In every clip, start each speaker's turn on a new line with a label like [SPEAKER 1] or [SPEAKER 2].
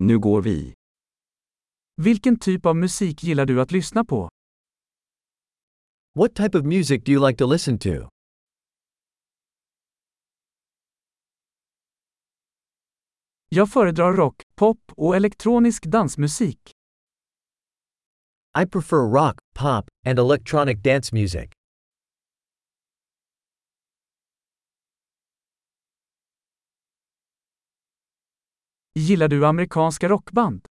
[SPEAKER 1] Nu går vi.
[SPEAKER 2] Vilken typ av musik gillar du att lyssna på?
[SPEAKER 3] What type of music do you like to listen to?
[SPEAKER 2] Jag föredrar rock, pop och elektronisk dansmusik.
[SPEAKER 3] I prefer rock, pop, and electronic dance music.
[SPEAKER 2] Gillar du amerikanska rockband?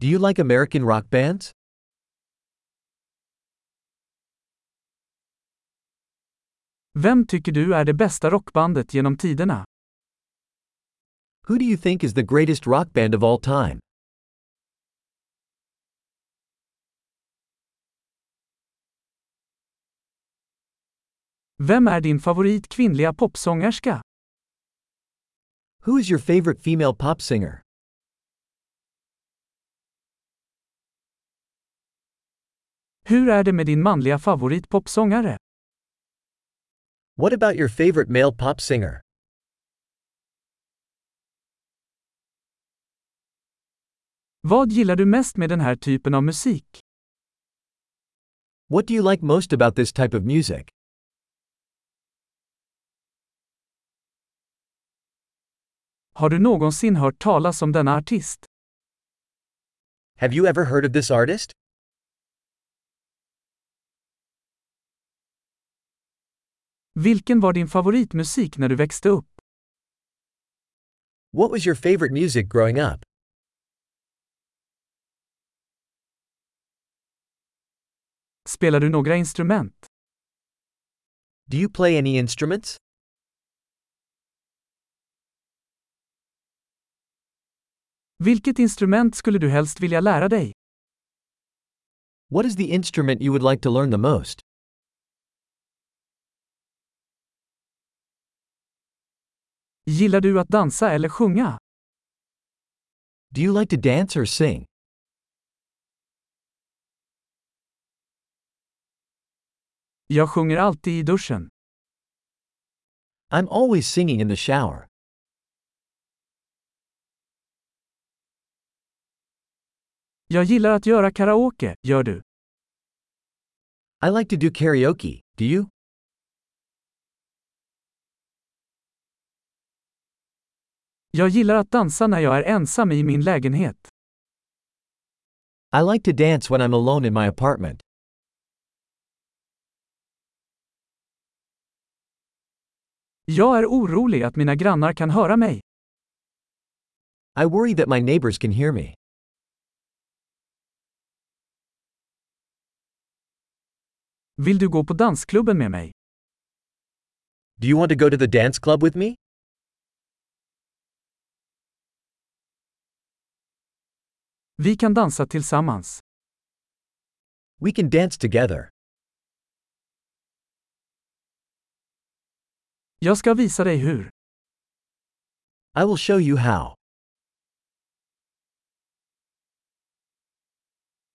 [SPEAKER 3] Do you like American rock bands?
[SPEAKER 2] Vem tycker du är det bästa rockbandet genom tiderna?
[SPEAKER 3] Who do you think is the greatest rock band of all time?
[SPEAKER 2] Vem är din favorit kvinnliga popsångerska?
[SPEAKER 3] Who is your favorite female pop singer?
[SPEAKER 2] Hur är det med din manliga favorit popsångare?
[SPEAKER 3] What about your favorite male pop singer?
[SPEAKER 2] Vad gillar du mest med den här typen av musik?
[SPEAKER 3] What do you like most about this type of music?
[SPEAKER 2] Har du någonsin hört talas om denna artist?
[SPEAKER 3] Have you ever heard of this artist?
[SPEAKER 2] Vilken var din favoritmusik när du växte upp?
[SPEAKER 3] What was your favorite music growing up?
[SPEAKER 2] Spelar du några instrument?
[SPEAKER 3] Do you play any instruments?
[SPEAKER 2] Vilket instrument skulle du helst vilja lära dig?
[SPEAKER 3] What is the instrument you would like to learn the most?
[SPEAKER 2] Gillar du att dansa eller sjunga?
[SPEAKER 3] Do you like to dance or sing?
[SPEAKER 2] Jag sjunger alltid i duschen.
[SPEAKER 3] I'm always singing in the shower.
[SPEAKER 2] Jag gillar att göra karaoke, gör du?
[SPEAKER 3] I like to do karaoke, do you?
[SPEAKER 2] Jag gillar att dansa när jag är ensam i min lägenhet.
[SPEAKER 3] I like to dance when I'm alone in my apartment.
[SPEAKER 2] Jag är orolig att mina grannar kan höra mig.
[SPEAKER 3] I worry that my neighbors can hear me.
[SPEAKER 2] Vill du gå på dansklubben med mig?
[SPEAKER 3] Do you want to go to the dance club with me?
[SPEAKER 2] Vi kan dansa tillsammans.
[SPEAKER 3] We can dance together.
[SPEAKER 2] Jag ska visa dig hur.
[SPEAKER 3] I will show you how.